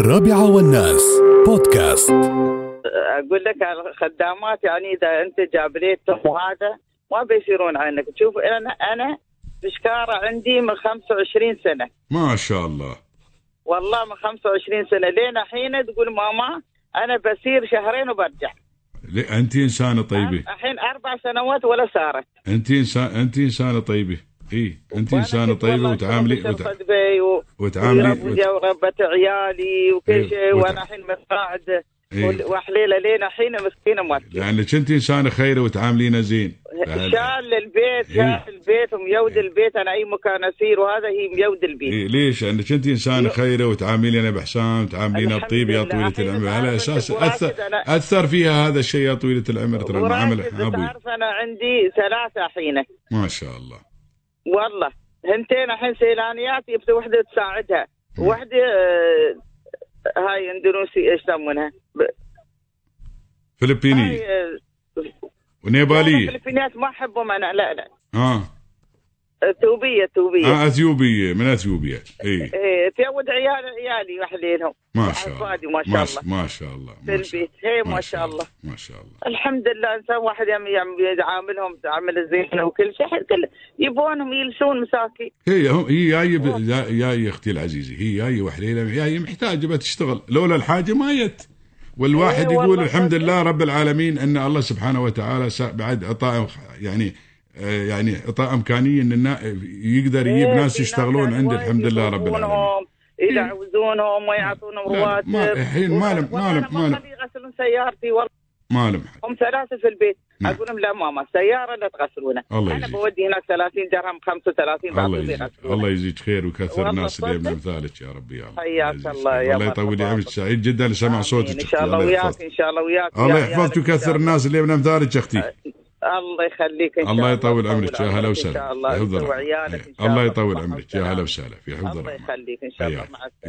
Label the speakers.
Speaker 1: الرابعة والناس بودكاست
Speaker 2: اقول لك على الخدامات يعني اذا انت جابريتهم وهذا ما بيصيرون عنك شوف انا انا بشكاره عندي من 25 سنه
Speaker 3: ما شاء الله
Speaker 2: والله من 25 سنه لين الحين تقول ماما انا بسير شهرين وبرجع
Speaker 3: ليه انت انسانه طيبه
Speaker 2: الحين اربع سنوات ولا صارت
Speaker 3: انت انسان انت انسانه طيبه اي انت
Speaker 2: وأنا
Speaker 3: انسانه
Speaker 2: كنت
Speaker 3: طيبه
Speaker 2: والله
Speaker 3: وتعاملي
Speaker 2: كنت
Speaker 3: وتع...
Speaker 2: أرفد بي و...
Speaker 3: وتعاملي-
Speaker 2: ويربي- وربت عيالي
Speaker 3: إيه،
Speaker 2: وكل شيء
Speaker 3: وتع-
Speaker 2: وانا الحين متقاعده
Speaker 3: إيه.
Speaker 2: وال- وحليله لين الحين مسكينه موكله
Speaker 3: لانك انت انسانه خيره وتعاملينا زين لأن-
Speaker 2: شال البيت
Speaker 3: إيه.
Speaker 2: شال البيت وميود البيت انا اي مكان اسير وهذا هي ميود البيت
Speaker 3: إيه ليش؟ لانك انت انسانه خيره وتعاملينا باحسان وتعاملينا
Speaker 2: الحمد
Speaker 3: بطيب يا
Speaker 2: لله.
Speaker 3: طويله
Speaker 2: الحين
Speaker 3: العمر
Speaker 2: أنا
Speaker 3: على
Speaker 2: كنت
Speaker 3: اساس
Speaker 2: براكد
Speaker 3: اثر
Speaker 2: أنا-
Speaker 3: اثر فيها هذا الشيء يا طويله العمر ترى العمل
Speaker 2: وراتب
Speaker 3: ابوي
Speaker 2: تعرف انا عندي ثلاثه الحين
Speaker 3: ما شاء الله
Speaker 2: والله هنتين الحين سيلانيات جبت وحده تساعدها
Speaker 3: إيه.
Speaker 2: وحده آه، هاي اندونيسي ايش يسمونها ب-
Speaker 3: فلبينيه
Speaker 2: هاي، آه، أنا
Speaker 3: ونيباليه
Speaker 2: الفلبينيات ما احبهم انا لا لا
Speaker 3: اه
Speaker 2: توبيه توبيه
Speaker 3: اه اثيوبيه من اثيوبيا اي
Speaker 2: إيه تيود عيال عيالي وحليلهم
Speaker 3: ما شاء
Speaker 2: عبادي
Speaker 3: الله
Speaker 2: ما شاء الله
Speaker 3: ما ما شاء الله
Speaker 2: في
Speaker 3: ما شاء
Speaker 2: البيت. هي
Speaker 3: الله.
Speaker 2: ما شاء الله
Speaker 3: ما شاء الله
Speaker 2: الحمد لله انسان واحد يم- يم- يعاملهم تعامل زين وكل شيء كل يبونهم يلسون مساكين
Speaker 3: هي هم هي جايه ب- جا- جايه اختي العزيزه هي جايه وحليله جايه محتاجه بتشتغل لولا الحاجه ما جت والواحد
Speaker 2: إيه
Speaker 3: يقول
Speaker 2: والله
Speaker 3: الحمد
Speaker 2: صدق.
Speaker 3: لله رب العالمين ان الله سبحانه وتعالى سا- بعد اعطاه يعني آه، يعني اعطاه امكانيه ان النا- يقدر طيب، يجيب
Speaker 2: إيه،
Speaker 3: ناس
Speaker 2: في
Speaker 3: يشتغلون
Speaker 2: يعني
Speaker 3: عنده
Speaker 2: وايد
Speaker 3: الحمد لله رب
Speaker 2: يطلبونهم،
Speaker 3: العالمين
Speaker 2: يدعوزونهم ويعطونهم
Speaker 3: لا، لا،
Speaker 2: رواتب
Speaker 3: ما- الحين ما لهم-
Speaker 2: وأنا-
Speaker 3: ما لهم-
Speaker 2: وأنا
Speaker 3: ما لهم.
Speaker 2: أخلي يغسلون سيارتي والله
Speaker 3: ما لهم حد
Speaker 2: هم ثلاثه في البيت
Speaker 3: نعم.
Speaker 2: اقول لهم لا ماما سياره لا تغسلونها
Speaker 3: الله
Speaker 2: انا
Speaker 3: يجزيك.
Speaker 2: بودي هناك 30 درهم 35
Speaker 3: الله
Speaker 2: بعطيهم
Speaker 3: يجزيك
Speaker 2: يغسلونها.
Speaker 3: الله يجزيك خير ويكثر
Speaker 2: والله
Speaker 3: الناس اللي
Speaker 2: صدق.
Speaker 3: من مثالك يا رب يا الله
Speaker 2: حياك
Speaker 3: يجزيك
Speaker 2: الله
Speaker 3: خير.
Speaker 2: يا
Speaker 3: الله يطول
Speaker 2: مرحبا.
Speaker 3: عمرك سعيد جدا لسمع
Speaker 2: آمين.
Speaker 3: صوتك
Speaker 2: ان شاء الله وياك
Speaker 3: يحفظك.
Speaker 2: ان شاء الله وياك
Speaker 3: الله
Speaker 2: يا
Speaker 3: يحفظك
Speaker 2: عيالك إن شاء
Speaker 3: ويكثر
Speaker 2: الله.
Speaker 3: الناس اللي من امثالك يا اختي
Speaker 2: الله يخليك ان شاء الله
Speaker 3: الله يطول عمرك يا هلا
Speaker 2: ان شاء
Speaker 3: وسهلا
Speaker 2: الله أنت
Speaker 3: يحفظ ربك.
Speaker 2: وعيالك إن شاء
Speaker 3: الله يطول
Speaker 2: مع
Speaker 3: عمرك يا
Speaker 2: السلامة.
Speaker 3: هلا وسهلا في حفظ
Speaker 2: الله
Speaker 3: ربك
Speaker 2: يخليك ان شاء الله
Speaker 3: حياك.
Speaker 2: مع السلامه